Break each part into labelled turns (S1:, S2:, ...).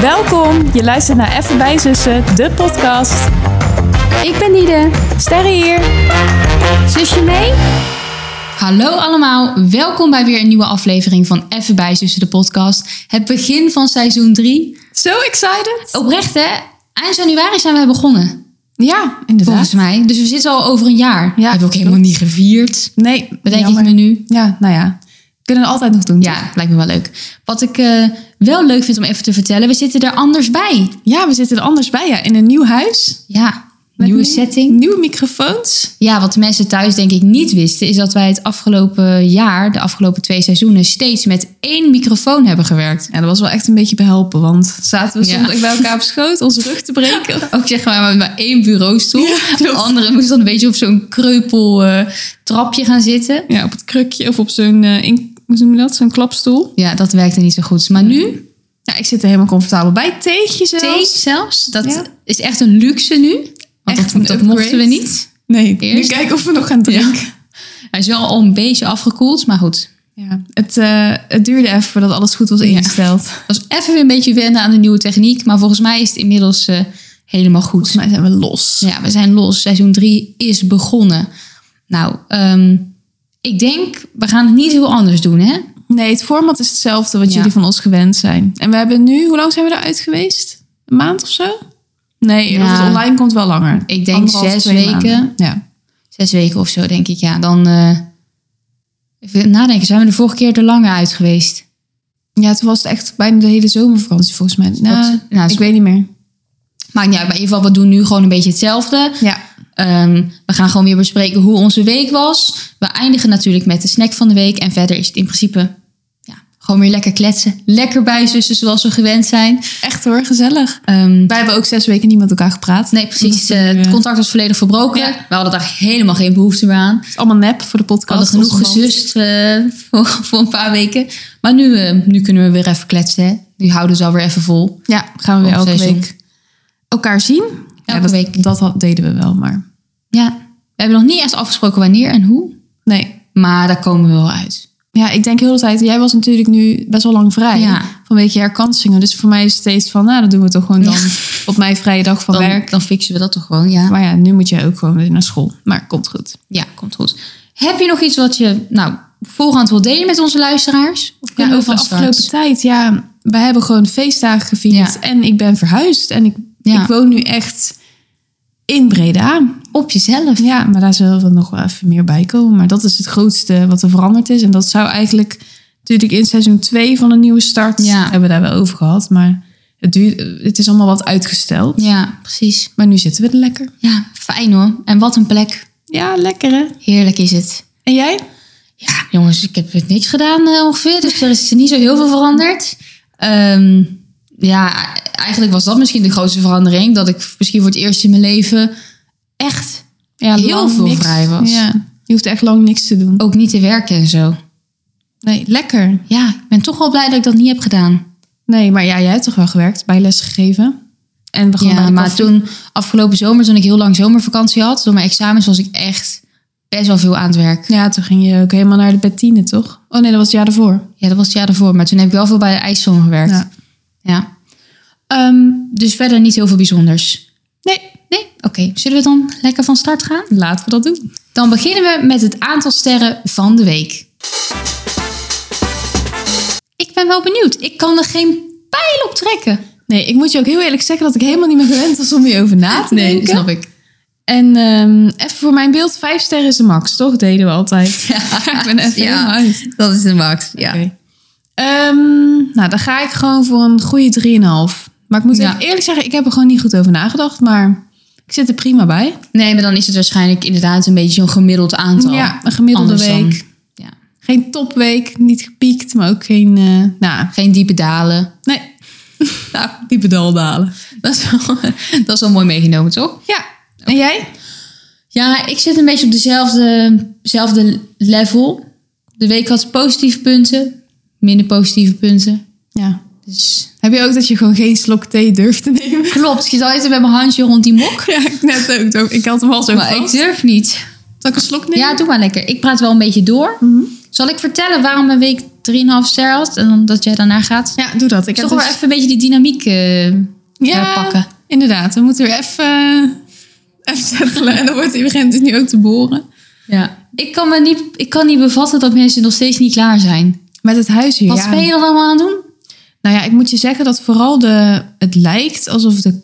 S1: Welkom, je luistert naar Even bij Zussen, de podcast.
S2: Ik ben Nide.
S1: Sterre hier.
S2: Zusje mee?
S3: Hallo allemaal, welkom bij weer een nieuwe aflevering van Even bij Zussen de podcast. Het begin van seizoen 3.
S1: So excited.
S3: Oprecht hè, eind januari zijn we begonnen,
S1: Ja,
S3: volgens
S1: inderdaad.
S3: mij. Dus we zitten al over een jaar. Hebben we ook
S1: klopt.
S3: helemaal niet gevierd,
S1: Nee,
S3: bedenk
S1: jammer.
S3: ik me nu.
S1: Ja, nou ja. Kunnen we altijd nog doen.
S3: Ja, lijkt me wel leuk. Wat ik eh, wel leuk vind om even te vertellen, we zitten er anders bij.
S1: Ja, we zitten er anders bij. Ja. In een nieuw huis.
S3: Ja,
S1: Met
S3: nieuwe
S1: nieuw-
S3: setting.
S1: Nieuwe microfoons.
S3: Ja, wat de mensen thuis denk ik niet wisten, is dat wij het afgelopen jaar, de afgelopen twee seizoenen, steeds met één microfoon hebben gewerkt.
S1: Ja, dat was wel echt een beetje behelpen. Want zaten we
S3: Ja.
S1: soms ook bij elkaar op schoot onze rug te breken.
S3: Ook zeg maar met maar één bureaustoel. de andere moest dan een beetje op zo'n kreupel eh, trapje gaan zitten.
S1: Ja, op het krukje of op zo'n, eh, in- hoe noem je dat? Zo'n klapstoel.
S3: Ja, dat werkte niet zo goed. Maar nu,
S1: Ja, ik zit er helemaal comfortabel bij. Theetje zelfs.
S3: thee zelfs, dat
S1: Ja.
S3: is echt een luxe nu. Want
S1: Echt een
S3: dat, dat mochten we
S1: upgrade.
S3: niet.
S1: Nee, nu
S3: Eerst.
S1: kijken of we nog gaan drinken.
S3: Hij is wel al een beetje afgekoeld, maar goed.
S1: Ja, het, eh, het duurde even voordat alles goed was ingesteld.
S3: Het was even weer een beetje wennen aan de nieuwe techniek. Maar volgens mij is het inmiddels eh, helemaal goed.
S1: Volgens mij zijn we los.
S3: Ja, we zijn los. Seizoen 3 is begonnen. Nou, ehm, ik denk, we gaan het niet heel anders doen, hè?
S1: Nee, het format is hetzelfde wat
S3: Ja.
S1: jullie van ons gewend zijn. En we hebben nu, hoe lang zijn we eruit geweest? Een maand of zo? Nee,
S3: Ja.
S1: als het online komt wel langer.
S3: Ik denk zes
S1: twee
S3: weken.
S1: maanden. Ja.
S3: zes weken of zo, denk ik. Ja, dan eh, even nadenken. Zijn we de vorige keer er langer uit geweest?
S1: ja, toen was het echt bijna de hele zomervakantie volgens mij. Nou,
S3: nou, dat is-
S1: ik weet niet meer.
S3: Maakt niet uit, maar in ieder geval, we doen nu gewoon een beetje hetzelfde.
S1: Ja.
S3: Ehm, we gaan gewoon weer bespreken hoe onze week was. We eindigen natuurlijk met de snack van de week. En verder is het in principe ja, gewoon weer lekker kletsen. Lekker bijzussen zoals we gewend zijn.
S1: Echt hoor, gezellig.
S3: Ehm,
S1: Wij hebben ook zes weken niet met elkaar gepraat.
S3: nee, precies.
S1: Dat
S3: eh,
S1: is nu,
S3: het
S1: eh,
S3: contact was volledig verbroken.
S1: Ja.
S3: We hadden daar helemaal geen behoefte meer aan.
S1: het is allemaal nep voor de
S3: We
S1: podcast.
S3: hadden genoeg
S1: Onze man.
S3: gezust eh, voor, voor een paar weken. Maar nu, eh, nu kunnen we weer even kletsen. Hè? Nu houden ze alweer even vol.
S1: Ja, gaan we weer
S3: Op
S1: elke
S3: seizoen.
S1: week elkaar zien. ja,
S3: Elke
S1: dat,
S3: week.
S1: Dat had- deden we wel, maar
S3: Ja, we hebben nog niet echt afgesproken wanneer en hoe.
S1: nee.
S3: Maar daar komen we wel uit.
S1: Ja, ik denk heel de tijd, jij was natuurlijk nu best wel lang vrij
S3: Ja.
S1: vanwege je herkansingen. Dus voor mij is het steeds van, nou, dat doen we toch gewoon dan op mijn vrije dag van
S3: Dan,
S1: werk.
S3: dan fixen we dat toch gewoon, ja.
S1: Maar ja, nu moet jij ook gewoon weer naar school. Maar komt goed.
S3: Ja, komt goed. Heb je nog iets wat je nou, voorhand wil delen met onze luisteraars? Of kunnen
S1: Ja,
S3: we
S1: over de
S3: vast wat?
S1: afgelopen tijd, ja, we hebben gewoon feestdagen gevierd.
S3: Ja.
S1: En ik ben verhuisd en ik,
S3: Ja.
S1: ik woon nu echt in Breda.
S3: Op jezelf.
S1: Ja, maar daar zullen we nog wel even meer bij komen. Maar dat is het grootste wat er veranderd is. En dat zou eigenlijk natuurlijk in seizoen 2 van een nieuwe start
S3: Ja.
S1: hebben we daar wel over gehad. Maar het, duurt, het is allemaal wat uitgesteld.
S3: Ja, precies.
S1: Maar nu zitten we er lekker.
S3: Ja, fijn hoor. En wat een plek.
S1: Ja, lekker hè?
S3: Heerlijk is het.
S1: En jij?
S3: Ja, jongens, ik heb het niks gedaan eh, ongeveer. Dus er is niet zo heel veel veranderd. Ehm, ja, eigenlijk was dat misschien de grootste verandering. Dat ik misschien voor het eerst in mijn leven echt
S1: Ja,
S3: Heel
S1: lang
S3: veel vrij was.
S1: Ja, je hoeft echt lang niks te doen.
S3: ook niet te werken en zo.
S1: Nee, lekker.
S3: Ja, ik ben toch wel blij dat ik dat niet heb gedaan.
S1: Nee, maar ja, jij hebt toch wel gewerkt, bij les gegeven. En we gaan bij
S3: Ja,
S1: de
S3: maar
S1: koffie.
S3: toen, afgelopen zomer, toen ik heel lang zomervakantie had, door mijn examens was ik echt best wel veel aan het werk.
S1: Ja, toen ging je ook helemaal naar de bettine, toch? Oh nee, dat was het jaar daarvoor.
S3: Ja, dat was het jaar daarvoor, maar toen heb ik wel veel bij de ijszone gewerkt.
S1: Ja.
S3: Ja. Ehm, dus verder niet heel veel bijzonders.
S1: Nee,
S3: Nee? Oké, zullen we dan lekker van start gaan?
S1: laten we dat doen.
S3: Dan beginnen we met het aantal sterren van de week. Ik ben wel benieuwd. Ik kan er geen pijl op trekken.
S1: Nee, ik moet je ook heel eerlijk zeggen dat ik helemaal niet meer gewend was om hierover na te denken.
S3: snap ik.
S1: En ehm, even voor mijn beeld, vijf sterren is de max, toch? Deden we altijd. ik ben even
S3: Ja.
S1: helemaal uit.
S3: Dat is de max. Ja.
S1: Oké. Ehm, nou, dan ga ik gewoon voor een goede 3,5. Maar ik moet
S3: Ja.
S1: even eerlijk zeggen, ik heb er gewoon niet goed over nagedacht. Maar ik zit er prima bij.
S3: Nee, maar dan is het waarschijnlijk inderdaad een beetje zo'n gemiddeld aantal.
S1: Ja, een gemiddelde
S3: Anders dan-
S1: week.
S3: ja.
S1: Geen topweek, niet gepiekt, maar ook geen... eh, nou,
S3: Geen diepe dalen.
S1: nee. nou, die pedaldalen.
S3: Dat is, wel, dat is wel mooi meegenomen, toch?
S1: Ja, en jij?
S3: Ja, ik zit een beetje op dezelfde zelfde level. De week had positieve punten, minder positieve punten.
S1: Ja.
S3: Dus
S1: Heb je ook dat je gewoon geen slok thee durft te nemen?
S3: Klopt, ik zit altijd met mijn handje rond die mok.
S1: Ja, ik net ook. zo. Ik had hem al zo
S3: Maar ik
S1: vast.
S3: durf niet.
S1: Zal ik een slok nemen?
S3: Mhm. Ja, doe maar lekker. Ik praat wel een beetje door. Zal ik vertellen waarom mijn week 3,5 ster had. En dan dat jij daarna gaat.
S1: Ja, doe dat. Ik
S3: Toch
S1: heb
S3: wel
S1: dus-
S3: even een beetje die dynamiek eh, eh,
S1: ja,
S3: pakken.
S1: inderdaad. We moeten weer even, eh, even settelen. En dan wordt iedereen dus nu ook te boren.
S3: Ja. Ik kan, me niet, ik kan niet bevatten dat mensen nog steeds niet klaar zijn.
S1: Met het huis hier,
S3: Wat
S1: ja.
S3: ben je dan allemaal aan het doen?
S1: Nou ja, ik moet je zeggen dat vooral de, het lijkt alsof de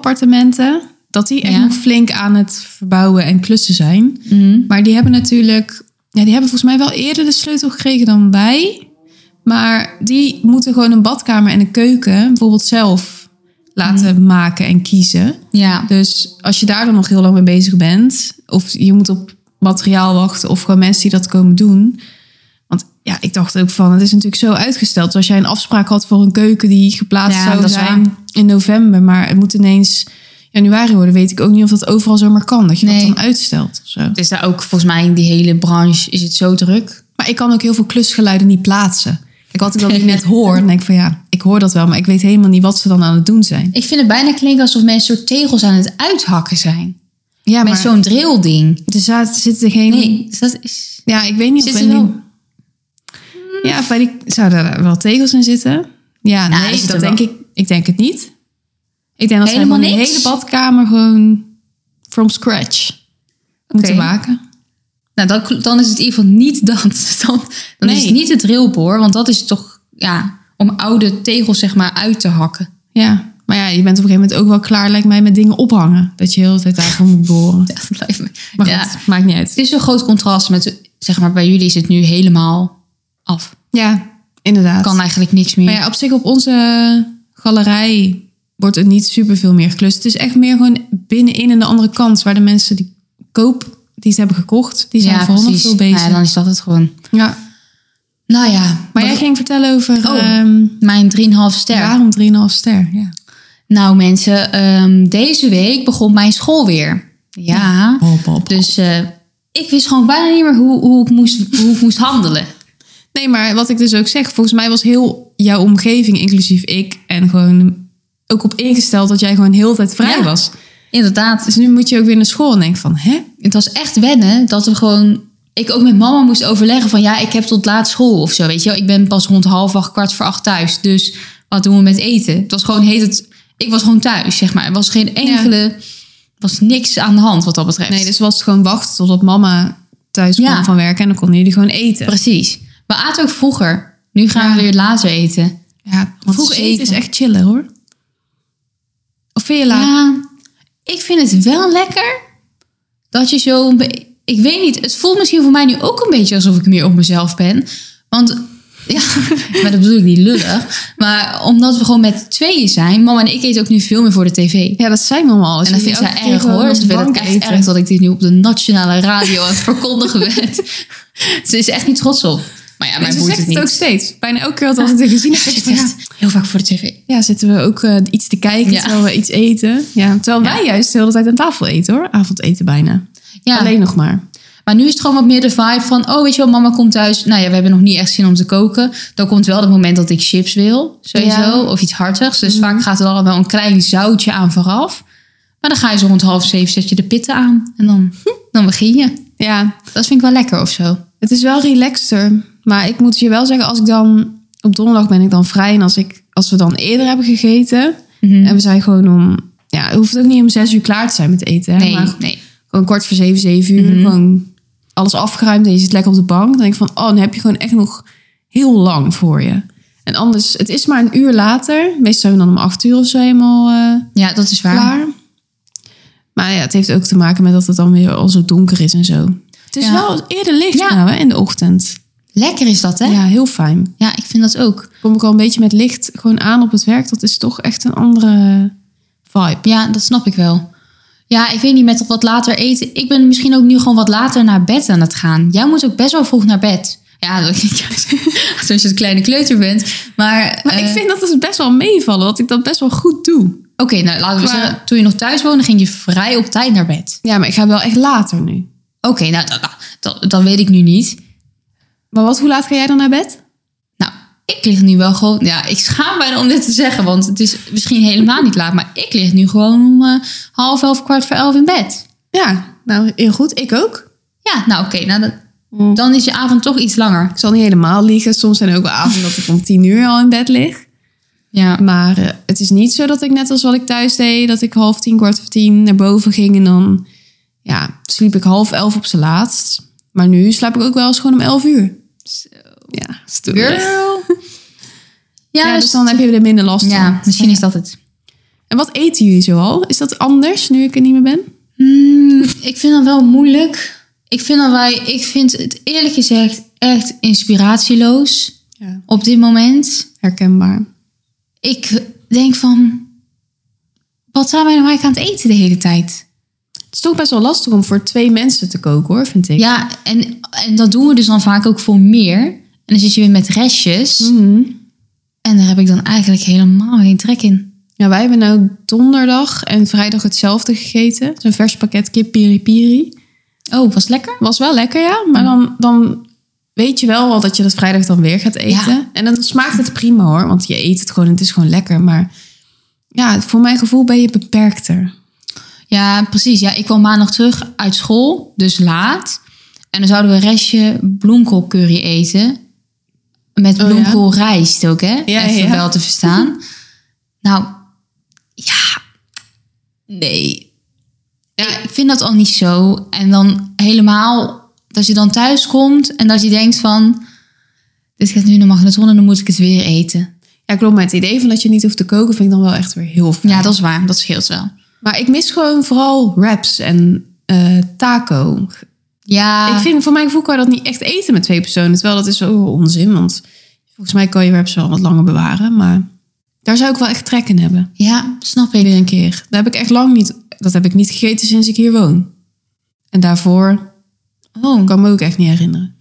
S1: koopappartementen, dat die echt
S3: Ja.
S1: nog flink aan het verbouwen en klussen zijn.
S3: Mhm.
S1: Maar die hebben natuurlijk, ja, die hebben volgens mij wel eerder de sleutel gekregen dan wij. Maar die moeten gewoon een badkamer en een keuken bijvoorbeeld zelf laten maken en kiezen.
S3: Ja.
S1: Dus als je daar dan nog heel lang mee bezig bent, of je moet op materiaal wachten, of gewoon mensen die dat komen doen. Want ja, ik dacht ook van, het is natuurlijk zo uitgesteld. Dus als jij een afspraak had voor een keuken die geplaatst
S3: Ja,
S1: zou
S3: dat is
S1: zijn
S3: waar.
S1: in november, maar het moet ineens januari worden, weet ik ook niet of dat overal zomaar kan. Dat je
S3: Nee.
S1: dat dan uitstelt of zo.
S3: Het is daar ook volgens mij in die hele branche is het zo druk.
S1: Maar ik kan ook heel veel klusgeluiden niet plaatsen. Kijk, wat ik dan nu net hoor, dan denk ik van ja, ik hoor dat wel, maar ik weet helemaal niet wat ze dan aan het doen zijn.
S3: Ik vind het bijna klinken alsof mensen soort tegels aan het uithakken zijn.
S1: Ja, maar
S3: Met zo'n drillding.
S1: er zaten- zitten geen...
S3: Nee, dus dat is...
S1: Ja, ik weet niet of
S3: Zit
S1: in
S3: er
S1: die-
S3: wel-
S1: Ja, bij die zouden er wel tegels in zitten. Ja,
S3: Nou, er
S1: nee,
S3: zitten
S1: dat
S3: wel.
S1: denk ik. Ik denk het niet. Ik denk dat zij
S3: Helemaal
S1: gewoon die
S3: niks?
S1: hele badkamer gewoon from scratch moeten
S3: Oké.
S1: maken.
S3: Nou, dan, kl- dan is het in ieder geval niet dat. Dan, dan is
S1: Nee.
S3: het niet het drillboor, want dat is toch ja, om oude tegels zeg maar uit te hakken.
S1: Ja, maar ja, je bent op een gegeven moment ook wel klaar, lijkt mij, met dingen ophangen. Dat je heel de tijd daarvoor moet boren.
S3: Ja, dat blijft me.
S1: Maar
S3: ja.
S1: goed, maakt niet uit.
S3: Het is een groot contrast met, zeg maar, bij jullie is het nu helemaal af.
S1: Ja, inderdaad.
S3: Kan eigenlijk niks meer.
S1: Maar ja, op zich op onze galerij wordt het niet superveel meer geklust. Het is echt meer gewoon binnenin en de andere kant, waar de mensen die koop, die ze hebben gekocht, die zijn
S3: Ja,
S1: vooral nog veel bezig.
S3: Nou ja, dan is dat het gewoon.
S1: Ja,
S3: Nou ja,
S1: maar jij ging vertellen over
S3: Oh.
S1: ehm,
S3: mijn 3,5 ster.
S1: waarom 3,5 ster. Ja.
S3: Nou mensen, ehm, deze week begon mijn school weer. Ja.
S1: Dus,
S3: Dus eh, ik wist gewoon bijna niet meer hoe, hoe, ik moest, hoe ik moest handelen.
S1: nee, maar wat ik dus ook zeg, volgens mij was heel jouw omgeving, inclusief ik, en gewoon ook op ingesteld dat jij gewoon heel de tijd vrij
S3: Ja.
S1: was.
S3: Inderdaad.
S1: Dus nu moet je ook weer naar school en denken van, hè?
S3: het was echt wennen dat we gewoon... Ik ook met mama moest overleggen van ja, ik heb tot laat school of zo. Weet je wel, ik ben pas rond half acht, kwart voor acht thuis. Dus wat doen we met eten? Het was gewoon heet het... Ik was gewoon thuis, zeg maar. Er was geen enkele... was niks aan de hand wat dat betreft.
S1: Nee, dus was het gewoon wachten totdat mama thuis
S3: Ja.
S1: kwam van werken en dan konden jullie gewoon eten.
S3: Precies. We aten ook vroeger. Nu gaan we
S1: Ja.
S3: weer later eten.
S1: Ja, want vroeg
S3: zeker.
S1: eten is echt chillen hoor. Of vind je laat?
S3: Ja, ik vind het wel lekker dat je zo... een be- Ik weet niet, het voelt misschien voor mij nu ook een beetje alsof ik meer op mezelf ben. Want, ja, maar dat bedoel ik niet lullig. Maar omdat we gewoon met tweeën zijn, mama en ik eten ook nu veel meer voor de tv. En
S1: Ja, dat zijn we allemaal.
S3: dat vind ik wel erg hoor. Ze vindt het echt erg dat ik dit nu op de nationale radio aan het verkondigen ben. Ze is echt niet trots op. Maar ja,
S1: Maar
S3: mijn
S1: ze
S3: moeder
S1: zegt
S3: het
S1: het
S3: niet.
S1: ook steeds. Bijna elke keer dat we het gezien hebben. zegt ze, Ja,
S3: heel vaak voor de tv.
S1: ja, zitten we ook eh, iets te kijken
S3: Ja.
S1: terwijl we iets eten. Ja, terwijl wij juist de hele tijd aan tafel eten hoor. Avondeten bijna.
S3: Ja.
S1: Alleen nog maar.
S3: Maar nu is het gewoon wat meer de vibe van... oh, weet je wel, mama komt thuis. Nou ja, we hebben nog niet echt zin om te koken. Dan komt wel het moment dat ik chips wil, sowieso.
S1: Ja. Mhm.
S3: Of iets hartigs. Dus vaak gaat er al wel een klein zoutje aan vooraf. Maar dan ga je zo rond half zeven, zet je de pitten aan. En dan, dan begin je.
S1: Ja,
S3: Dat vind ik wel lekker of zo.
S1: Het is wel relaxter. Maar ik moet je wel zeggen, als ik dan op donderdag ben ik dan vrij. En als, ik, als we dan eerder hebben gegeten. En we zijn gewoon om. Ja, het hoeft ook niet om zes uur klaar te zijn met eten. Hè?
S3: Nee,
S1: Maar
S3: nee.
S1: gewoon kwart voor zeven, zeven uur. Gewoon alles afgeruimd en je zit lekker op de bank. Dan denk ik van, oh, dan heb je gewoon echt nog heel lang voor je. En anders, het is maar een uur later. Meestal zijn we dan om acht uur of zo helemaal eh,
S3: Ja, dat is waar.
S1: klaar. Maar ja, het heeft ook te maken met dat het dan weer al zo donker is en zo. Het is
S3: Ja.
S1: wel eerder licht
S3: Ja.
S1: nou, hè, in de ochtend.
S3: Lekker is dat, hè? Ja.
S1: Ja, heel fijn.
S3: ik vind dat ook.
S1: Kom ik al een beetje met licht gewoon aan op het werk. Dat is toch echt een andere vibe.
S3: Ja, dat snap ik wel. Ja, ik weet niet, met dat wat later eten. Ik ben misschien ook nu gewoon wat later naar bed aan het gaan. Jij moet ook best wel vroeg naar bed. Ja, dat- als je een kleine kleuter bent. Maar,
S1: Maar ik
S3: eh,
S1: vind dat het best wel meevallen. Dat ik dat best wel goed doe.
S3: Oké, nou laten we
S1: Qua-
S3: zeggen, toen je nog thuis woonde, ging je vrij op tijd naar bed.
S1: Ja, maar ik ga wel echt later nu.
S3: Oké, nou, dat, dat, dat weet ik nu niet.
S1: Maar wat, hoe laat ga jij dan naar bed?
S3: Nou, ik lig nu wel gewoon... Ja, ik schaam bijna om dit te zeggen, want het is misschien helemaal niet laat. Maar ik lig nu gewoon om eh, half elf, kwart voor elf in bed.
S1: Ja, nou heel goed. Ik ook.
S3: Ja, nou oké, nou, dat,
S1: Mm.
S3: Dan is je avond toch iets langer.
S1: Ik zal niet helemaal liegen. Soms zijn er ook wel avonden dat ik om tien uur al in bed lig.
S3: Ja.
S1: Maar eh, het is niet zo dat ik net als wat ik thuis deed, dat ik half tien, kwart voor tien naar boven ging en dan ja, sliep ik half elf op zijn laatst. Maar nu slaap ik ook wel eens gewoon om elf uur. Ja, stoer. Ja,
S3: Girl. Ja, dus,
S1: dus dan heb je er minder last van.
S3: ja, misschien is dat het.
S1: En wat eten jullie zoal? Is dat anders nu ik er niet meer ben?
S3: Hmm, ik vind dat wel moeilijk. Ik vind, dat wij, ik vind het eerlijk gezegd echt inspiratieloos
S1: Ja.
S3: op dit moment.
S1: Herkenbaar.
S3: Ik denk van, wat zijn wij nou eigenlijk aan het eten de hele tijd?
S1: Het is toch best wel lastig om voor twee mensen te koken hoor, vind ik.
S3: Ja, en, en dat doen we dus dan vaak ook voor meer. En dan zit je weer met restjes.
S1: Mhm.
S3: En daar heb ik dan eigenlijk helemaal geen trek in.
S1: Ja, wij hebben nou donderdag en vrijdag hetzelfde gegeten. Zo'n vers pakket kip piri piri.
S3: Oh, was lekker?
S1: Was wel lekker, ja. Maar dan, dan weet je wel al dat je dat vrijdag dan weer gaat eten.
S3: Ja.
S1: En dan smaakt het prima hoor. Want je eet het gewoon, het is gewoon lekker. Maar ja, voor mijn gevoel ben je beperkter.
S3: Ja, precies. Ja, ik kwam maandag terug uit school, dus laat. En dan zouden we een restje bloemkoolcurry eten. Met
S1: Oh ja.
S3: bloemkoolrijst ook, hè?
S1: Ja,
S3: Even
S1: ja.
S3: wel te verstaan. nou, ja. Nee. Ja, ik vind dat al niet zo. En dan helemaal dat je dan thuis komt en dat je denkt van... Dit gaat nu in de magnetron en dan moet ik het weer eten.
S1: Ja, klopt. Maar het idee van dat je niet hoeft te koken vind ik dan wel echt weer heel fijn.
S3: Ja, dat is waar. Dat scheelt wel.
S1: Maar ik mis gewoon vooral wraps en eh, taco.
S3: Ja,
S1: Ik vind, voor mijn gevoel kan je dat niet echt eten met twee personen. Terwijl dat is ook wel onzin, want volgens mij kan je wraps wel wat langer bewaren. Maar daar zou ik wel echt trek in hebben.
S3: ja snap ik.
S1: Weer een keer. Dat heb ik echt lang niet, dat heb ik niet gegeten sinds ik hier woon. En daarvoor
S3: Oh,
S1: kan ik me ook echt niet herinneren.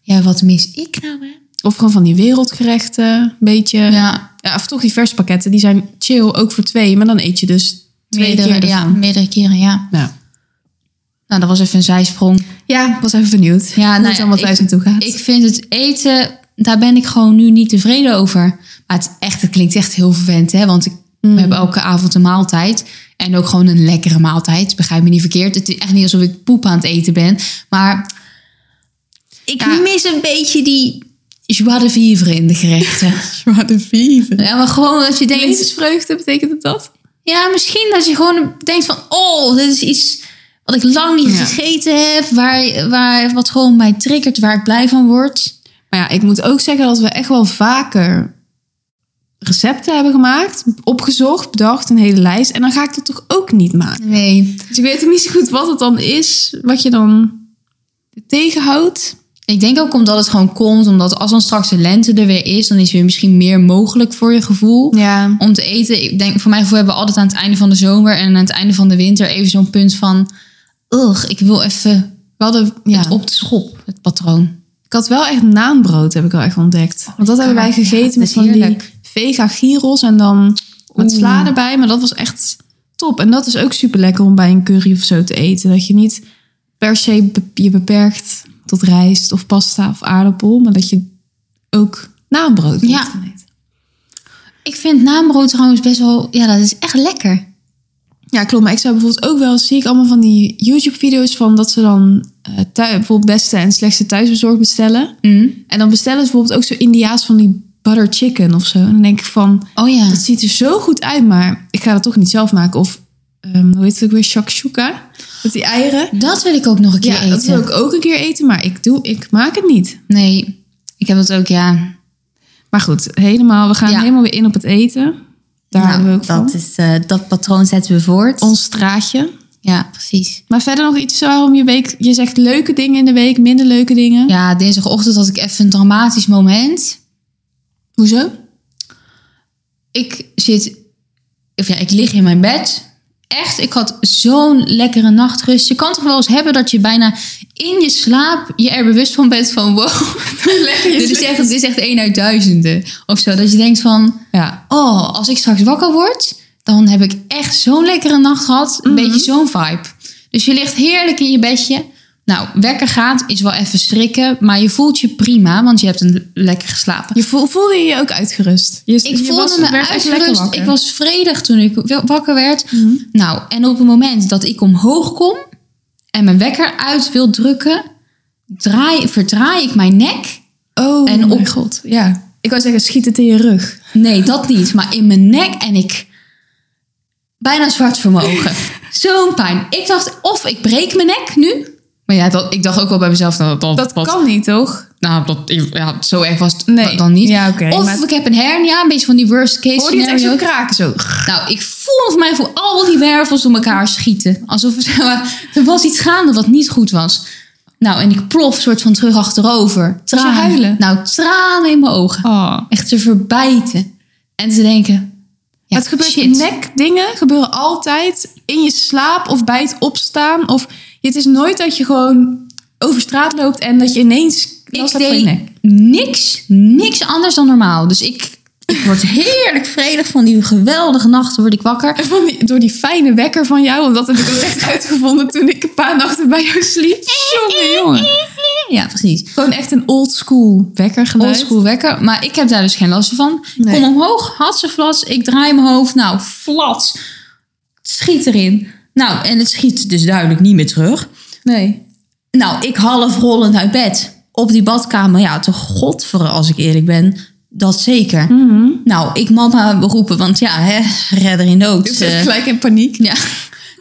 S3: Ja, wat mis ik nou, hè?
S1: Of gewoon van die wereldgerechten, een beetje. Ja.
S3: Ja,
S1: of toch die verspakketten, die zijn chill, ook voor twee. Maar dan eet je dus twee
S3: meerdere,
S1: keer
S3: ja,
S1: ervan.
S3: meerdere keren, ja.
S1: Ja.
S3: Nou, dat was even een zijsprong.
S1: ja, was even benieuwd
S3: Ja,
S1: hoe
S3: nou
S1: het
S3: ja,
S1: allemaal
S3: ik-
S1: thuis naartoe gaat.
S3: Ik vind het eten, daar ben ik gewoon nu niet tevreden over. Maar het, is echt, het klinkt echt heel verwend, hè? Want ik, we hebben elke avond een maaltijd. En ook gewoon een lekkere maaltijd. Begrijp me niet verkeerd. Het is echt niet alsof ik poep aan het eten ben. Maar ik mis een beetje die joie de vivre in de gerechten.
S1: Wat een vieve.
S3: ja, maar gewoon dat je denkt...
S1: Levensvreugde, betekent het dat?
S3: Ja, misschien dat je gewoon denkt van... oh, dit is iets wat ik lang niet
S1: Ja.
S3: gegeten heb... Waar, waar, wat gewoon mij triggert, waar ik blij van word.
S1: Maar ja, ik moet ook zeggen dat we echt wel vaker recepten hebben gemaakt, opgezocht, bedacht, een hele lijst. En dan ga ik dat toch ook niet maken.
S3: Nee.
S1: Dus ik weet ook niet zo goed wat het dan is, wat je dan tegenhoudt.
S3: Ik denk ook omdat het gewoon komt... omdat als dan straks de lente er weer is... dan is weer misschien meer mogelijk voor je gevoel...
S1: Ja.
S3: om te eten. Ik denk, voor mijn gevoel hebben we altijd aan het einde van de zomer... en aan het einde van de winter even zo'n punt van... ugh, ik wil even
S1: We hadden, ja.
S3: het op de schop, het patroon.
S1: Ik had wel echt naanbrood, heb ik wel echt ontdekt. Want dat hebben wij
S3: Oh, lekker.
S1: gegeten
S3: Ja, dat
S1: met
S3: is
S1: van
S3: heerlijk.
S1: die vega gyros en dan wat
S3: Oeh.
S1: sla erbij. Maar dat was echt top. En dat is ook super lekker om bij een curry of zo te eten. Dat je niet per se be- je beperkt tot rijst of pasta of aardappel. Maar dat je ook naanbrood moet
S3: Ja.
S1: gaan eten.
S3: Ik vind naambrood trouwens best wel... ja, dat is echt lekker.
S1: Ja, klopt. Maar ik zou bijvoorbeeld ook wel, zie ik allemaal van die YouTube-video's van dat ze dan eh thui- bijvoorbeeld beste en slechtste thuisbezorgd bestellen.
S3: Mm.
S1: En dan bestellen ze bijvoorbeeld ook zo Indiaas van die butter chicken of zo. En dan denk ik van,
S3: Oh ja.
S1: Dat ziet er zo goed uit, maar ik ga dat toch niet zelf maken. Of ehm, hoe heet het ook weer? Shakshuka. Met die eieren.
S3: Dat wil ik ook nog een keer
S1: Ja,
S3: eten.
S1: dat wil ik ook een keer eten, maar ik, doe, ik maak het niet.
S3: Nee, ik heb dat ook, ja.
S1: Maar goed, helemaal, we gaan
S3: Ja.
S1: helemaal weer in op het eten. Daar hebben we ook van.
S3: Is, Nou, eh, dat patroon zetten we voort.
S1: Ons straatje.
S3: Ja, precies.
S1: Maar verder nog iets waarom je week... Je zegt leuke dingen in de week, minder leuke dingen.
S3: Ja, dinsdagochtend had ik even een dramatisch moment.
S1: Hoezo?
S3: Ik zit, of ja, ik lig in mijn bed. Echt, ik had zo'n lekkere nachtrust. Je kan toch wel eens hebben dat je bijna in je slaap je er bewust van bent van wow. dit, is echt, dit is echt één uit duizenden of zo. Dat je denkt van,
S1: Ja.
S3: oh, als ik straks wakker word, dan heb ik echt zo'n lekkere nacht gehad. Een
S1: Mhm.
S3: beetje zo'n vibe. Dus je ligt heerlijk in je bedje. Nou, wekker gaat is wel even schrikken, maar je voelt je prima, want je hebt een lekker geslapen.
S1: Je voel- voelde je je ook uitgerust? Je,
S3: Ik
S1: je
S3: voelde
S1: was-
S3: me
S1: werd echt lekker
S3: uitgerust.
S1: wakker. Mhm.
S3: Ik was vredig toen ik wel- wakker werd. Nou, en op het moment dat ik omhoog kom en mijn wekker uit wil drukken, draai, verdraai ik mijn nek.
S1: Oh,
S3: En op-
S1: mijn god. Ja. Ik wou zeggen, schiet het in je rug.
S3: Nee, dat niet. Maar in mijn nek en ik... Bijna zwart voor mijn ogen. Zo'n pijn. Ik dacht, of ik breek mijn nek nu. Maar ja, dat, ik dacht ook wel bij mezelf. nou, dat,
S1: Dat
S3: wat-
S1: kan niet, toch?
S3: Nou, dat, ja, zo erg was het
S1: Nee.
S3: dan niet.
S1: Ja, oké,
S3: of
S1: maar-
S3: ik heb een hernia, een beetje van die worst case
S1: Hoor je het echt zo
S3: scenario.
S1: kraken zo?
S3: Nou, ik voel of mij voor al die wervels door elkaar schieten. Alsof er, er was iets gaande wat niet goed was. Nou, en ik plof soort van terug achterover. Tranen.
S1: huilen?
S3: Nou, tranen in mijn ogen.
S1: Oh.
S3: Echt te verbijten. En te denken... Ja,
S1: het gebeurt
S3: shit.
S1: nekdingen gebeuren altijd in je slaap of bij het opstaan. Of het is nooit dat je gewoon over straat loopt en dat je ineens
S3: Ik
S1: last hebt van je
S3: deed
S1: nek.
S3: niks, niks anders dan normaal. Dus ik, ik word heerlijk vredig van die geweldige nachten. Word ik wakker.
S1: En van die- door die fijne wekker van jou, want dat heb ik al echt uitgevonden toen ik een paar nachten bij jou sliep. Jongen, jongen.
S3: Ja, precies.
S1: Gewoon echt een old school wekker geluid.
S3: Oldschool wekker. Maar ik heb daar dus geen last van. Ik
S1: Nee.
S3: Kom omhoog, had ze flats. Ik draai mijn hoofd. Nou, flats. Het schiet erin. Nou, en het schiet dus duidelijk niet meer terug.
S1: Nee.
S3: Nou, ik half rollend uit bed. Op die badkamer. Ja, toch godver als ik eerlijk ben. Dat zeker.
S1: Mhm.
S3: Nou, ik mama beroepen. Want ja, hè, redder in nood.
S1: Dus
S3: eh.
S1: gelijk in paniek.
S3: Ja.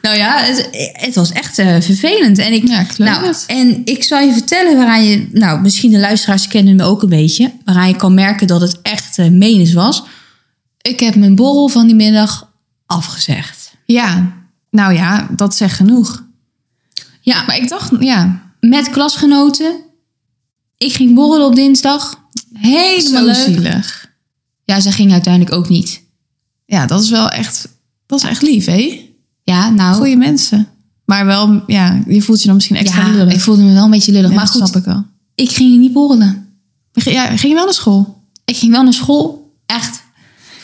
S3: Nou ja, het, het was echt eh, vervelend. En ik,
S1: Ja, ik geloof
S3: nou,
S1: het.
S3: en ik zal je vertellen waaraan je... Nou, misschien de luisteraars kennen me ook een beetje. Waaraan je kan merken dat het echt eh menens was. Ik heb mijn borrel van die middag afgezegd.
S1: Ja. Nou ja, dat zegt genoeg.
S3: Ja, maar
S1: Maar ik dacht, ja,
S3: met klasgenoten. Ik ging borrelen op dinsdag. Helemaal
S1: zo
S3: leuk.
S1: zielig.
S3: Ja, ze ging uiteindelijk ook niet.
S1: Ja, dat is wel echt, dat is echt lief, hè?
S3: Ja, nou...
S1: goede mensen. Maar wel, ja, je voelt je dan misschien extra
S3: ja,
S1: lullig.
S3: ik voelde me wel een beetje lullig.
S1: Ja,
S3: maar
S1: dat
S3: goed,
S1: snap ik wel.
S3: ik ging niet borrelen.
S1: Ja, ging je wel naar school?
S3: Ik ging wel naar school. Echt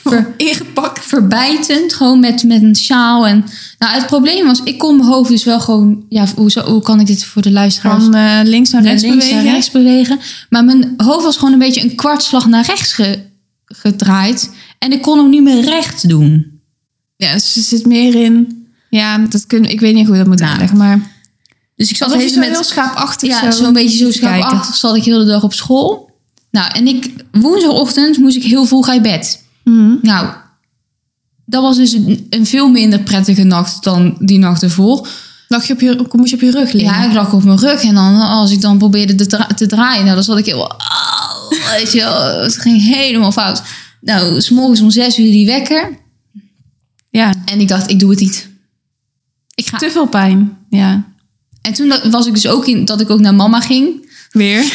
S1: Oh,
S3: ver,
S1: Ingepakt.
S3: verbijtend. Gewoon met, met een sjaal. En, nou, het probleem was, ik kon mijn hoofd dus wel gewoon... Ja, hoe, zo- hoe kan ik dit voor de luisteraars...
S1: Van eh, links naar
S3: naar
S1: rechts
S3: links
S1: bewegen.
S3: naar rechts bewegen. Maar mijn hoofd was gewoon een beetje een kwartslag naar rechts ge- gedraaid. En ik kon hem niet meer recht doen.
S1: Ja, dus er zit meer in. Ja, dat kun, ik weet niet hoe we dat moet
S3: Nou,
S1: uitleggen, maar...
S3: Dus ik zat
S1: Alsof je zo
S3: even
S1: heel
S3: met...
S1: schaapachtig
S3: Ja,
S1: zo.
S3: zo'n beetje zo
S1: te kijken.
S3: schaapachtig zat ik heel de dag op school. Nou, en ik, woensdagochtend moest ik heel vroeg uit bed.
S1: Mhm.
S3: Nou, dat was dus een, een veel minder prettige nacht dan die nacht ervoor.
S1: Lag je op je, moest je op je rug liggen?
S3: Ja, ik lag op mijn rug. En dan, als ik dan probeerde te, dra- te draaien, nou, dan zat ik heel... Au, weet je wel, het ging helemaal fout. Nou, s'morgens om zes uur die wekker.
S1: Ja.
S3: En ik dacht, ik doe het niet. Ik ga...
S1: Te veel pijn. Ja.
S3: En toen dat- was ik dus ook in dat ik ook naar mama ging.
S1: Weer.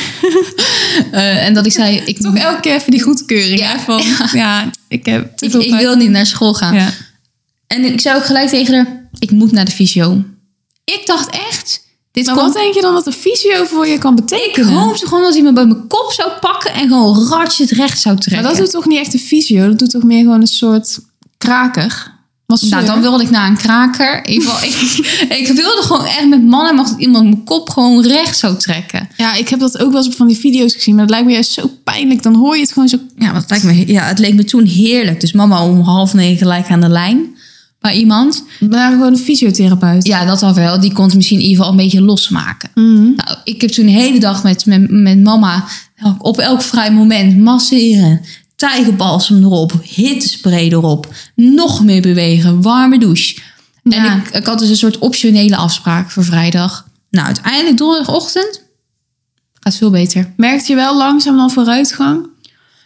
S3: Eh, en dat ik zei, ik,
S1: Toch elke keer even die goedkeuring.
S3: Ja.
S1: Ja, van, ja Oh. ik heb te
S3: ik,
S1: veel
S3: ik
S1: pijn.
S3: wil niet naar school gaan.
S1: Ja.
S3: En ik zei ook gelijk tegen haar, ik moet naar de fysio. Ik dacht echt, dit
S1: Maar
S3: komt
S1: wat denk je dan dat een fysio voor je kan
S3: Ik
S1: betekenen?
S3: hoopte gewoon dat hij me bij mijn kop zou pakken en gewoon ratje het recht zou trekken.
S1: Maar dat doet toch niet echt een fysio? Dat doet toch meer gewoon een soort kraker? Masseur?
S3: Nou, dan wilde ik naar een kraker. In ieder geval, ik, ik wilde gewoon echt met man en macht dat iemand mijn kop gewoon recht zou trekken.
S1: Ja, ik heb dat ook wel eens op van die video's gezien. Maar dat lijkt me juist zo pijnlijk. Dan hoor je het gewoon zo...
S3: Ja, want het, lijkt me, ja, het leek me toen heerlijk. Dus mama om half negen gelijk aan de lijn bij iemand.
S1: Maar gewoon een fysiotherapeut.
S3: Ja, dat al wel. Die kon het misschien in ieder geval een beetje losmaken.
S1: Mhm.
S3: Nou, ik heb toen de hele dag met, met, met mama op elk vrij moment masseren. Tijgerbalsem erop, hittespray erop. Nog meer bewegen, warme douche.
S1: Ja.
S3: En ik, ik had dus een soort optionele afspraak voor vrijdag. Nou, uiteindelijk donderdagochtend gaat veel beter.
S1: Merkte je wel langzaam dan vooruitgang?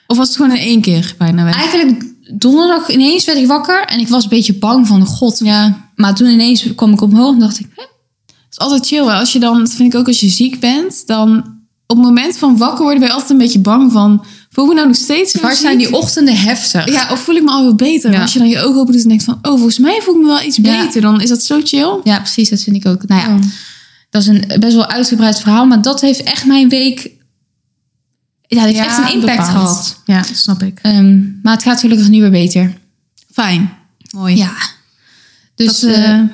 S1: Of was het gewoon in één keer bijna weg?
S3: Eigenlijk donderdag ineens werd ik wakker en ik was een beetje bang van god.
S1: Ja.
S3: Maar toen ineens kwam ik omhoog en dacht ik, hè?
S1: Het is altijd chill. hè. Als je dan, dat vind ik ook als je ziek bent, dan... Op het moment van wakker worden ben je altijd een beetje bang van... Voel ik me nou nog steeds zo
S3: waar
S1: ziek?
S3: zijn die ochtenden heftig?
S1: Ja, of voel ik me alweer beter?
S3: Ja.
S1: Als je dan je ogen opent en denkt van... Oh, volgens mij voel ik me wel iets
S3: Ja.
S1: beter. Dan is dat zo chill.
S3: ja, precies, dat vind ik ook. Nou ja,
S1: Oh.
S3: Dat is een best wel uitgebreid verhaal, maar dat heeft echt mijn week. Ja, dat heeft echt een impact
S1: bepaald.
S3: gehad.
S1: Ja, snap ik.
S3: Ehm, maar het gaat gelukkig nu weer beter.
S1: Fijn. Mooi.
S3: Ja. Dus,
S1: Dus, eh,
S3: eh,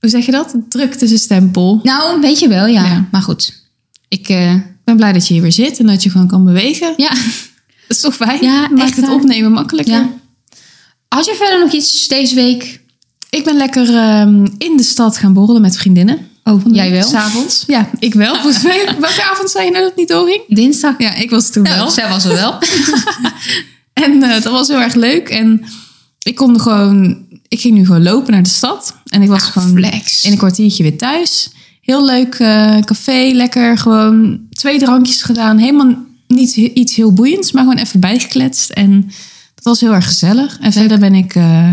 S1: hoe zeg je dat? Druk tussen stempel.
S3: nou, weet je wel, ja.
S1: ja.
S3: Maar goed. Ik, eh,
S1: Ik ben blij dat je hier weer zit en dat je gewoon kan bewegen.
S3: ja.
S1: Dat is toch fijn?
S3: Ja,
S1: Maakt
S3: echt
S1: het
S3: waar.
S1: opnemen makkelijker.
S3: ja. Had je verder nog iets deze week?
S1: Ik ben lekker ehm, in de stad gaan borrelen met vriendinnen. Oh, van de
S3: Jij
S1: week,
S3: wel?
S1: S'avonds. Ja, ik wel. Volgens mij, welke avond zei je nou dat het niet doorging?
S3: Dinsdag.
S1: Ja, ik was toen wel.
S3: Nou, zij was er wel.
S1: En eh, dat was heel erg leuk. En ik kon gewoon... Ik ging nu gewoon lopen naar de stad. En ik was
S3: Ja,
S1: gewoon
S3: Ah, flex.
S1: in een kwartiertje weer thuis. Heel leuk eh, café, lekker. Gewoon twee drankjes gedaan. Helemaal niet he- iets heel boeiends, maar gewoon even bijgekletst. En dat was heel erg gezellig. En verder ben ik eh,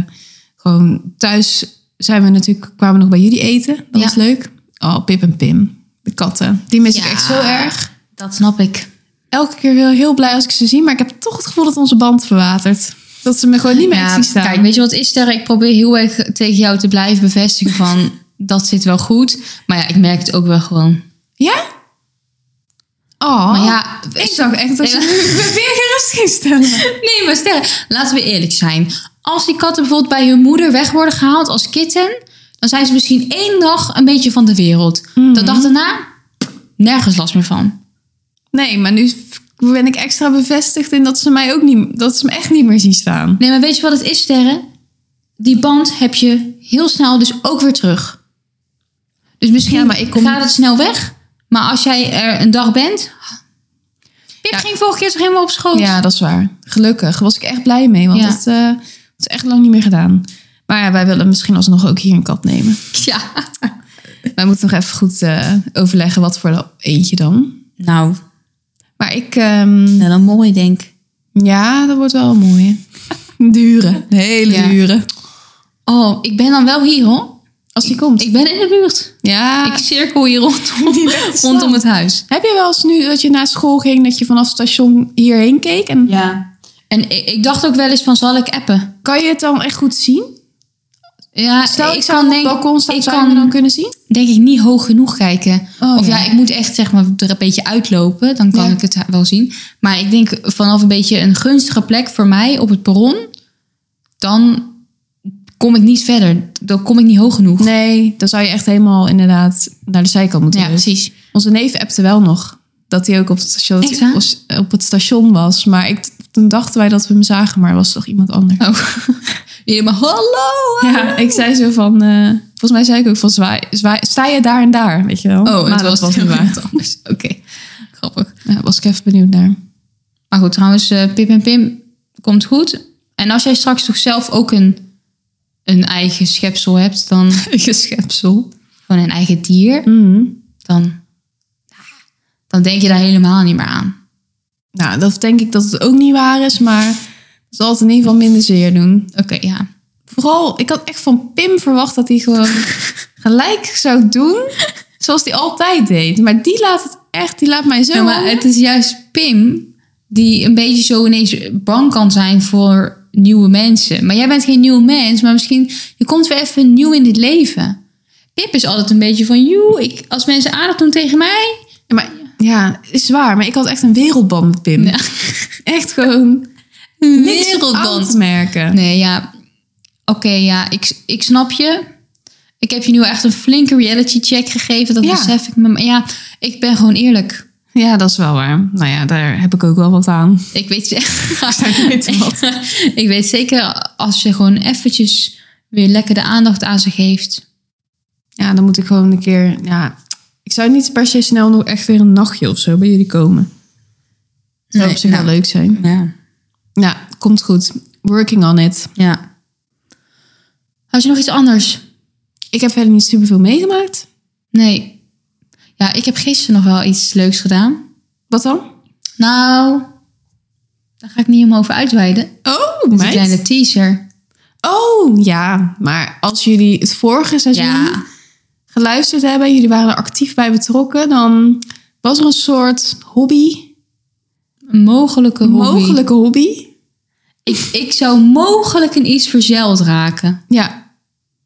S1: gewoon thuis... Zijn we natuurlijk, kwamen we nog bij jullie eten. Dat
S3: Ja.
S1: was leuk. Oh, Pip en Pim. De katten. Die mis ik
S3: Ja.
S1: echt zo erg.
S3: Dat snap ik.
S1: elke keer weer heel blij als ik ze zie. Maar ik heb toch het gevoel dat onze band verwatert. Dat ze me gewoon niet meer echt
S3: Ja,
S1: zien staan.
S3: kijk, weet je wat is daar? Ik probeer heel erg tegen jou te blijven bevestigen van... dat zit wel goed. Maar ja, ik merk het ook wel gewoon.
S1: Ja? Oh,
S3: Maar ja,
S1: ik dacht echt dat je me weer gerust ging stellen.
S3: Nee, maar stel, laten we eerlijk zijn. Als die katten bijvoorbeeld bij hun moeder weg worden gehaald als kitten... dan zijn ze misschien één dag een beetje van de wereld.
S1: Mhm.
S3: De dag daarna, nergens last meer van.
S1: Nee, maar nu ben ik extra bevestigd in dat ze mij ook niet, dat ze me echt niet meer zien staan.
S3: Nee, maar weet je wat het is, Sterre? Die band heb je heel snel dus ook weer terug. Dus misschien
S1: Ja, maar ik kom-
S3: gaat het snel weg. Maar als jij er een dag bent... Pip
S1: Ja.
S3: ging vorige keer toch helemaal op schoot?
S1: Ja, dat is waar. Gelukkig was ik echt blij mee, want
S3: Ja.
S1: dat, eh, dat is echt lang niet meer gedaan. Maar ja, wij willen misschien alsnog ook hier een kat nemen.
S3: Ja.
S1: Wij moeten nog even goed eh, overleggen wat voor eentje dan.
S3: Nou,
S1: Maar ik, ehm,
S3: wel een mooi, denk ik.
S1: Ja, dat wordt wel mooi. Dure. Hele
S3: Ja.
S1: dure.
S3: Oh, ik ben dan wel hier, hoor.
S1: Als die komt.
S3: Ik ben in de buurt.
S1: ja.
S3: Ik cirkel hier rondom, rondom het huis.
S1: heb je wel eens nu dat je naar school ging, dat je vanaf station hierheen keek? En
S3: Ja. En ik, ik dacht ook wel eens van, zal ik appen?
S1: kan je het dan echt goed zien?
S3: Ja,
S1: Stel, ik, zou op het balkon staan,
S3: ik
S1: zou
S3: kan-
S1: je me dan kunnen zien?
S3: denk ik niet hoog genoeg kijken.
S1: Oh,
S3: of
S1: ja.
S3: ja. ik moet echt zeg maar er een beetje uitlopen. Dan kan
S1: Ja.
S3: ik het wel zien. Maar ik denk vanaf een beetje een gunstige plek voor mij op het perron. Dan kom ik niet verder. Dan kom ik niet hoog genoeg.
S1: Nee, dan zou je echt helemaal inderdaad naar de zijkant moeten.
S3: Ja,
S1: lopen.
S3: precies.
S1: Onze neef appte wel nog dat hij ook op het station,
S3: Echt waar?
S1: was- op het station was. Maar ik, toen dachten wij dat we hem zagen, maar er was toch iemand anders.
S3: Oh. Jullie maar hallo.
S1: Ja, ik zei zo van... eh, volgens mij zei ik ook van, zwaai, zwaai, sta je daar en daar, weet je wel?
S3: Oh,
S1: Maar
S3: het was,
S1: dat
S3: niet waar. anders. Oké, grappig.
S1: Ja, was ik even benieuwd naar.
S3: Maar goed, trouwens, eh, Pip en Pim komt goed. En als jij straks toch zelf ook een, een eigen schepsel hebt, dan
S1: Eigen schepsel. Mhm.
S3: gewoon een eigen dier, dan, dan denk je daar helemaal niet meer aan.
S1: Nou, dat denk ik dat het ook niet waar is, maar het zal het in ieder geval minder zeer doen.
S3: Oké, ja.
S1: Vooral, ik had echt van Pim verwacht dat hij gewoon gelijk zou doen zoals hij altijd deed. Maar die laat het echt, die laat mij zo...
S3: Ja, Nou, maar
S1: hangen.
S3: het is juist Pim die een beetje zo ineens bang kan zijn voor nieuwe mensen. Maar jij bent geen nieuw mens, maar misschien je komt weer even nieuw in dit leven. Pip is altijd een beetje van, joe, ik, als mensen aardig doen tegen mij,
S1: Ja, maar, ja, is waar, maar ik had echt een wereldband met Pim.
S3: Ja.
S1: Echt gewoon niks op aan
S3: wereldband.
S1: te merken.
S3: Nee, ja. Oké, ja, ik, ik snap je. Ik heb je nu echt een flinke reality check gegeven. Dat
S1: Ja.
S3: besef ik me. Maar ja, ik ben gewoon eerlijk.
S1: Ja, dat is wel waar. Nou ja, daar heb ik ook wel wat aan.
S3: Ik weet, ze-
S1: Ik weet wat.
S3: ik weet zeker als je gewoon eventjes weer lekker de aandacht aan ze geeft.
S1: Ja, dan moet ik gewoon een keer. Ja, ik zou niet per se snel nog echt weer een nachtje of zo bij jullie komen. Zou
S3: Nee,
S1: op zich
S3: nou.
S1: wel leuk zijn.
S3: Ja.
S1: Ja, komt goed. Working on it.
S3: ja. Had je nog iets anders?
S1: Ik heb verder niet superveel meegemaakt.
S3: Nee. Ja, ik heb gisteren nog wel iets leuks gedaan.
S1: Wat dan?
S3: Nou, daar ga ik niet helemaal over uitweiden.
S1: Oh,
S3: Dus Een kleine teaser.
S1: Oh, ja. Maar als jullie het vorige seizoen
S3: Ja.
S1: geluisterd hebben, jullie waren er actief bij betrokken, dan was er een soort hobby,
S3: Een mogelijke hobby.
S1: mogelijke hobby.
S3: Ik, ik zou mogelijk in iets verzeild raken.
S1: Ja,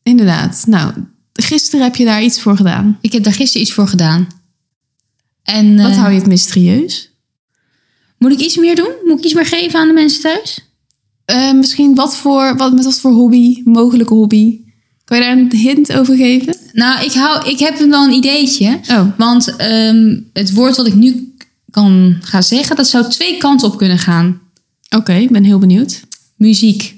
S1: inderdaad. Nou, gisteren heb je daar iets voor gedaan.
S3: Ik heb daar gisteren iets voor gedaan. En
S1: Wat
S3: eh,
S1: hou je het mysterieus?
S3: moet ik iets meer doen? Moet ik iets meer geven aan de mensen thuis?
S1: Eh, misschien wat voor, wat, met wat voor hobby, mogelijke hobby. Kan je daar een hint over geven?
S3: Nou, ik, hou, ik heb wel een ideetje.
S1: Oh.
S3: Want ehm, het woord wat ik nu k- kan gaan zeggen, dat zou twee kanten op kunnen gaan.
S1: Oké, ik ben heel benieuwd.
S3: Muziek.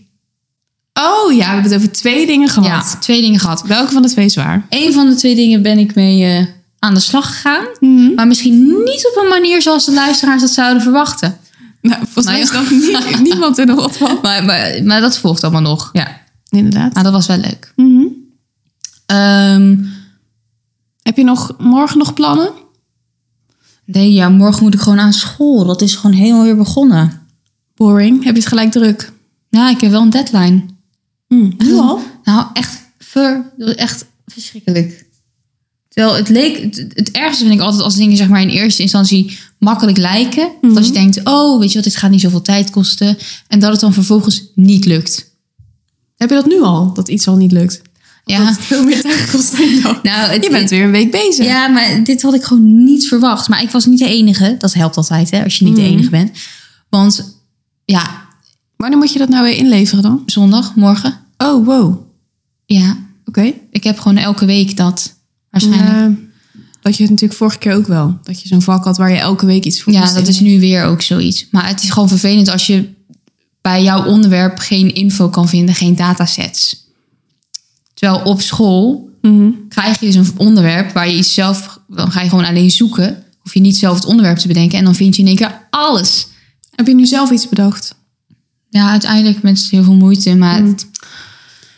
S1: Oh Oh ja, we hebben het over twee dingen gehad.
S3: Ja, twee dingen gehad.
S1: Welke van de twee is waar?
S3: Eén van de twee dingen ben ik mee eh, aan de slag gegaan.
S1: Mhm.
S3: Maar misschien niet op een manier zoals de luisteraars dat zouden verwachten.
S1: Nou, volgens mij is
S3: Nou
S1: dat nie- niemand in de hot van.
S3: Maar, maar, maar dat volgt allemaal nog. Ja.
S1: Inderdaad.
S3: Maar dat was wel leuk.
S1: Mhm.
S3: Ehm,
S1: Heb je nog, morgen nog plannen?
S3: nee, ja, morgen moet ik gewoon aan school. Dat is gewoon helemaal weer begonnen.
S1: Boring. Heb je het gelijk druk?
S3: Ja, ik heb wel een deadline.
S1: Nu al?
S3: Nou, echt, ver, dat was echt verschrikkelijk. Terwijl het leek, het, het ergste vind ik altijd als dingen zeg maar in eerste instantie makkelijk lijken. Dat
S1: Mhm.
S3: als je denkt, oh, weet je wat, dit gaat niet zoveel tijd kosten. En dat het dan vervolgens niet lukt.
S1: Heb je dat nu al? Dat iets al niet lukt?
S3: Ja,
S1: Dat het veel meer tijd kost dan je dacht.
S3: nou, het,
S1: Je bent weer een week bezig.
S3: Ja, maar dit had ik gewoon niet verwacht. Maar ik was niet de enige. Dat helpt altijd, hè, als je
S1: Mhm.
S3: niet de enige bent. Want ja,
S1: Wanneer moet je dat nou weer inleveren dan?
S3: zondag, morgen.
S1: Oh, wow. Oké.
S3: Ja, ik heb gewoon elke week dat waarschijnlijk.
S1: Eh, dat je het natuurlijk vorige keer ook wel. Dat je zo'n vak had waar je elke week iets voor
S3: Ja,
S1: moest
S3: dat
S1: in-
S3: is nu weer ook zoiets. Maar het is gewoon vervelend als je bij jouw onderwerp geen info kan vinden, geen datasets. Terwijl op school krijg je dus een onderwerp waar je iets zelf, dan ga je gewoon alleen zoeken. Hoef je niet zelf het onderwerp te bedenken en dan vind je in één keer alles.
S1: Heb je nu zelf iets bedacht?
S3: Ja, uiteindelijk met heel veel moeite, maar het-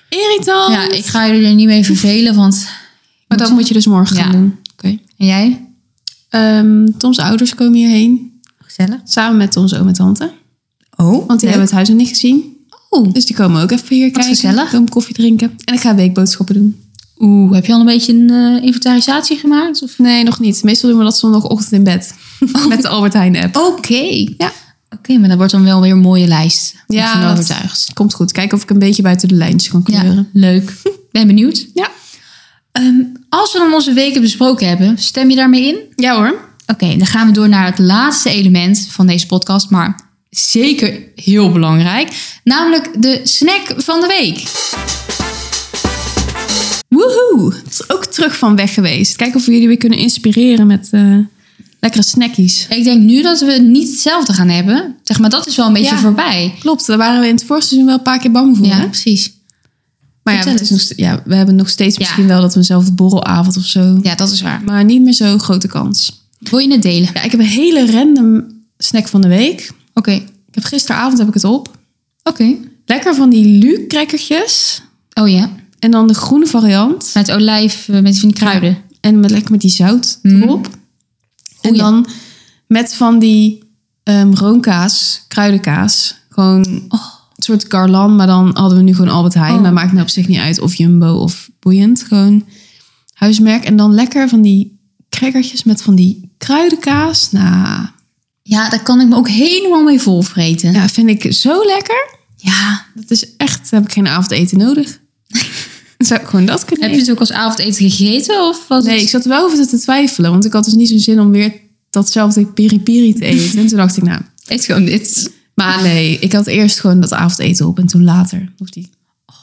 S1: Irritant!
S3: ja, ik ga jullie er niet mee vervelen, want...
S1: maar dat moet je dus morgen gaan
S3: Ja.
S1: doen. Oké.
S3: En jij?
S1: Ehm, Toms ouders komen hierheen.
S3: Gezellig.
S1: Samen met Toms oom en tante.
S3: Oh,
S1: Want die hebben het huis nog niet gezien.
S3: Oh.
S1: Dus die komen ook even hier kijken.
S3: gezellig.
S1: Komen koffie drinken. En ik ga weekboodschappen doen.
S3: Oeh, heb je al een beetje een eh, inventarisatie gemaakt? Of?
S1: Nee, nog niet. Meestal doen we dat zondagochtend in bed. Met de Albert Heijn app.
S3: Oké.
S1: Ja.
S3: Oké, maar dat wordt dan wel weer een mooie lijst. Ik ben
S1: Ja,
S3: van
S1: dat-
S3: overtuigd.
S1: Komt goed. Kijken of ik een beetje buiten de lijntjes kan kleuren.
S3: leuk. Ben benieuwd.
S1: Ja.
S3: Ehm, als we dan onze weken besproken hebben, stem je daarmee in?
S1: Ja, hoor.
S3: Oké, dan gaan we door naar het laatste element van deze podcast, maar zeker heel belangrijk. Namelijk de snack van de week.
S1: Woehoe. Dat is ook terug van weg geweest. Kijken of we jullie weer kunnen inspireren met eh, lekkere snackies.
S3: Ik denk nu dat we niet hetzelfde gaan hebben. Zeg maar, dat is wel een beetje
S1: Ja.
S3: voorbij.
S1: Klopt, daar waren we in het vorige seizoen wel een paar keer bang voor.
S3: Ja,
S1: hè?
S3: precies.
S1: Maar ja,
S3: Vertel
S1: het is nog,
S3: eens.
S1: st- ja, we hebben nog steeds misschien wel dat we zelf een borrelavond of zo.
S3: Ja, dat is waar.
S1: Maar niet meer zo'n grote kans.
S3: Wil je het delen?
S1: Ja, ik heb een hele random snack van de week.
S3: Oké.
S1: Ik heb gisteravond heb ik het op.
S3: Oké.
S1: Lekker van die Luuk-crackertjes.
S3: Oh ja,
S1: En dan de groene variant.
S3: met olijf, eh, met van die kruiden.
S1: En met, lekker met die zout
S3: Hmm.
S1: erop. En
S3: Oei.
S1: dan met van die ehm, roomkaas, kruidenkaas. Gewoon
S3: Oh.
S1: een soort garland, maar dan hadden we nu gewoon Albert Heijn. Maar maakt nou op zich niet uit of Jumbo of boeiend. Gewoon huismerk. En dan lekker van die crackertjes met van die kruidenkaas. Nou,
S3: Ja, daar kan ik me ook helemaal mee volvreten.
S1: ja, vind ik zo lekker.
S3: Ja.
S1: Dat is echt, daar heb ik geen avondeten nodig. Dan zou ik gewoon dat kunnen
S3: Heb je het ook als avondeten gegeten? Of was
S1: Nee,
S3: het...
S1: ik zat er wel over te twijfelen. Want ik had dus niet zo'n zin om weer datzelfde piri-piri te eten. En toen dacht ik, nou...
S3: eet gewoon dit.
S1: Maar nee, ik had eerst gewoon dat avondeten op. En toen later nog die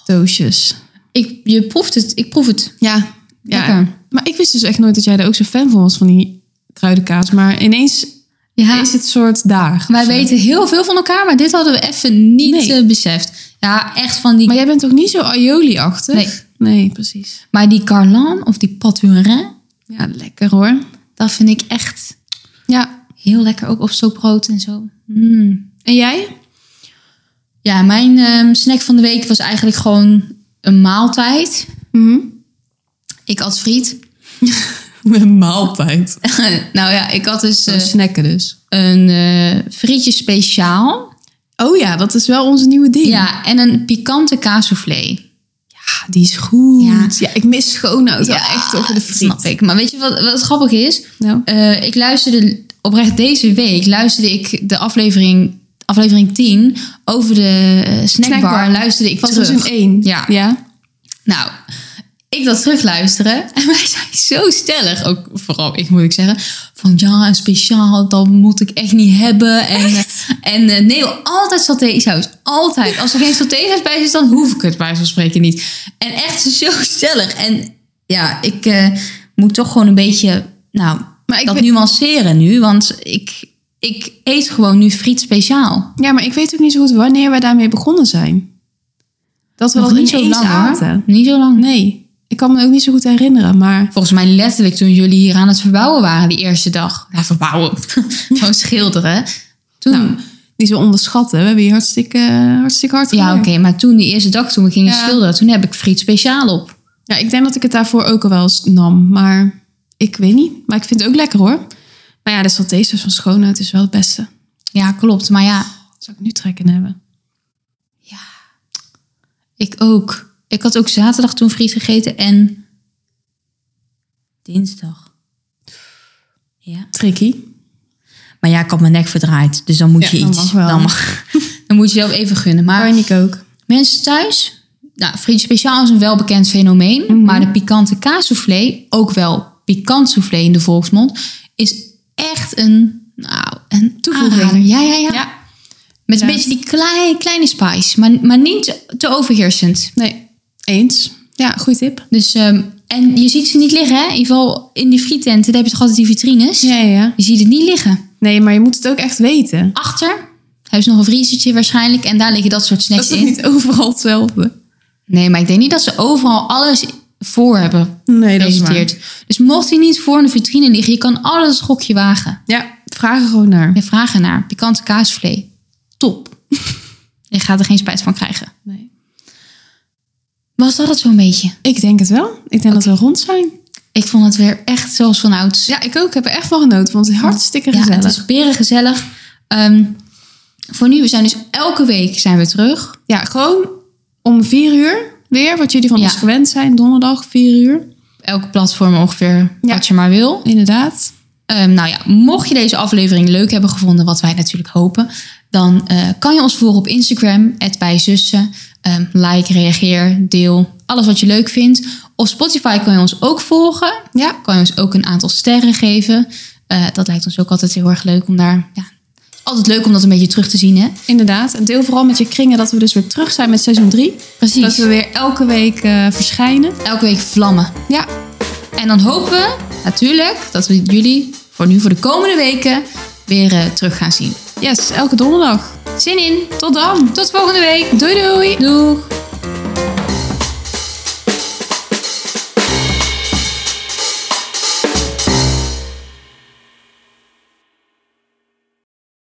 S1: doosjes.
S3: Ik, je proeft het. Ik proef het.
S1: Ja,
S3: Lekker.
S1: Maar ik wist dus echt nooit dat jij er ook zo fan van was, van die kruidenkaas. Maar ineens
S3: Ja.
S1: is het soort daar.
S3: Wij weten heel veel van elkaar, maar dit hadden we even niet
S1: Nee.
S3: eh, beseft. Ja, echt van die...
S1: Maar
S3: Maar,
S1: jij bent toch niet zo aioli-achtig?
S3: Nee.
S1: Nee, precies.
S3: die carlan of die paturin,
S1: Ja, lekker hoor.
S3: dat vind ik echt
S1: Ja.
S3: heel lekker. Ook op zoopbrood en zo.
S1: En jij?
S3: Ja, mijn ehm, snack van de week was eigenlijk gewoon een maaltijd.
S1: Mhm.
S3: Ik had friet.
S1: Een maaltijd.
S3: nou ja, ik had dus eh,
S1: snacken dus.
S3: een eh, frietje speciaal.
S1: Oh ja, dat is wel onze nieuwe ding.
S3: Ja, en een pikante kaassoufflé.
S1: Ah, die is goed. Ja,
S3: Ja.
S1: ik mis schoonhoud wel echt over de
S3: dat snap
S1: friet.
S3: ik. Maar weet je wat, wat grappig is?
S1: Nou.
S3: Eh, ik luisterde oprecht deze week luisterde ik de aflevering, aflevering 10 over de eh, snackbar.
S1: Snackbar.
S3: Luisterde ik
S1: Pas
S3: terug.
S1: in één.
S3: Ja.
S1: ja.
S3: Nou, ik dat terugluisteren. En wij zijn zo stellig, ook vooral ik moet ik zeggen. Van ja, een speciaal, dat moet ik echt niet hebben. En, eh, en eh, nee, altijd satésaus. Altijd. Als er geen satésaus bij is, dan hoef ik het bij zo'n spreken niet. En echt zo stellig. En ja, ik eh, moet toch gewoon een beetje, nou,
S1: Maar ik
S3: dat
S1: weet-
S3: nuanceren nu. Want ik, ik eet gewoon nu friet speciaal.
S1: ja, maar ik weet ook niet zo goed wanneer wij daarmee begonnen zijn. Dat we
S3: Nog
S1: dat
S3: niet zo
S1: ineens
S3: lang hoor.
S1: aten.
S3: Niet zo lang.
S1: Nee, ik kan me ook niet zo goed herinneren. Maar
S3: Volgens mij letterlijk toen jullie hier aan het verbouwen waren die eerste dag. Ja, verbouwen. Gewoon schilderen. Toen,
S1: nou, niet zo onderschatten. We hebben hier hartstikke, hartstikke hard
S3: ja, oké.
S1: gewerkt.
S3: maar toen die eerste dag toen we gingen
S1: Ja.
S3: schilderen, toen heb ik friet speciaal op.
S1: Ja, ik denk dat ik het daarvoor ook al wel eens nam. Maar ik weet niet. Maar ik vind het ook lekker hoor. Maar ja, de satésaus dus van schoonheid is wel het beste.
S3: Ja, klopt. Maar ja,
S1: Dat zou ik nu trekken hebben.
S3: ik ook. Ik had ook zaterdag toen friet gegeten en dinsdag. Ja.
S1: Tricky.
S3: Maar ja, ik had mijn nek verdraaid. Dus dan moet
S1: Ja,
S3: je
S1: dat
S3: iets.
S1: mag wel.
S3: Dan, mag, dan moet je zelf even gunnen. Maar
S1: Paniek ook.
S3: Mensen thuis, nou, friet speciaal is een welbekend fenomeen. Maar de pikante kaassoufflé, ook wel pikant soufflé in de volksmond, is echt een, nou, een
S1: Toevoeging.
S3: aanrader. Ja, ja, ja.
S1: Ja.
S3: Met een
S1: Ja.
S3: beetje die kleine, kleine spice, maar, maar niet te overheersend.
S1: Nee, eens. Ja, goede tip.
S3: Dus, ehm, en je ziet ze niet liggen, hè? In ieder geval in die friettenten, daar heb je toch altijd die vitrines?
S1: ja, ja.
S3: Je ziet het niet liggen.
S1: Nee, maar je moet het ook echt weten.
S3: Achter, hij is nog een vriezertje waarschijnlijk, en daar liggen dat soort
S1: Dat
S3: snacks
S1: is toch
S3: in.
S1: niet overal hetzelfde?
S3: Nee, maar ik denk niet dat ze overal alles voor hebben
S1: Nee,
S3: presenteert. Dus mocht hij niet voor in de vitrine liggen, je kan alles een gokje wagen.
S1: Ja, vraag er gewoon naar.
S3: En vragen naar pikante kaasvlee. Top. je gaat er geen spijt van krijgen.
S1: Nee.
S3: Was dat het zo'n beetje?
S1: Ik denk het wel. Ik denk dat we rond zijn.
S3: Ik vond het weer echt zoals van ouds.
S1: Ja, ik ook. Ik heb er echt van genoten. Want het is hartstikke
S3: Ja,
S1: gezellig.
S3: het is berengezellig. Ehm voor nu, we zijn dus elke week zijn we terug.
S1: Ja, gewoon om vier uur weer. Wat jullie van
S3: Ja.
S1: ons gewend zijn. Donderdag, vier uur.
S3: Elke platform ongeveer
S1: Ja.
S3: wat je maar wil.
S1: Inderdaad.
S3: Ehm, nou ja, mocht je deze aflevering leuk hebben gevonden, wat wij natuurlijk hopen, dan eh, kan je ons volgen op Instagram, bijzussen. Ehm, like, reageer, deel, alles wat je leuk vindt. Op Spotify kan je ons ook volgen.
S1: Ja.
S3: Kan je ons ook een aantal sterren geven. Eh, dat lijkt ons ook altijd heel erg leuk om daar. Ja, altijd leuk om dat een beetje terug te zien, hè?
S1: Inderdaad. En deel vooral met je kringen dat we dus weer terug zijn met seizoen drie.
S3: Precies.
S1: Dat we weer elke week eh, verschijnen.
S3: Elke week vlammen.
S1: Ja,
S3: En dan hopen we natuurlijk dat we jullie voor nu, voor de komende weken, weer eh, terug gaan zien.
S1: yes. Elke donderdag.
S3: Zin in!
S1: Tot dan.
S3: Tot volgende week!
S1: Doei doei.
S3: Doeg!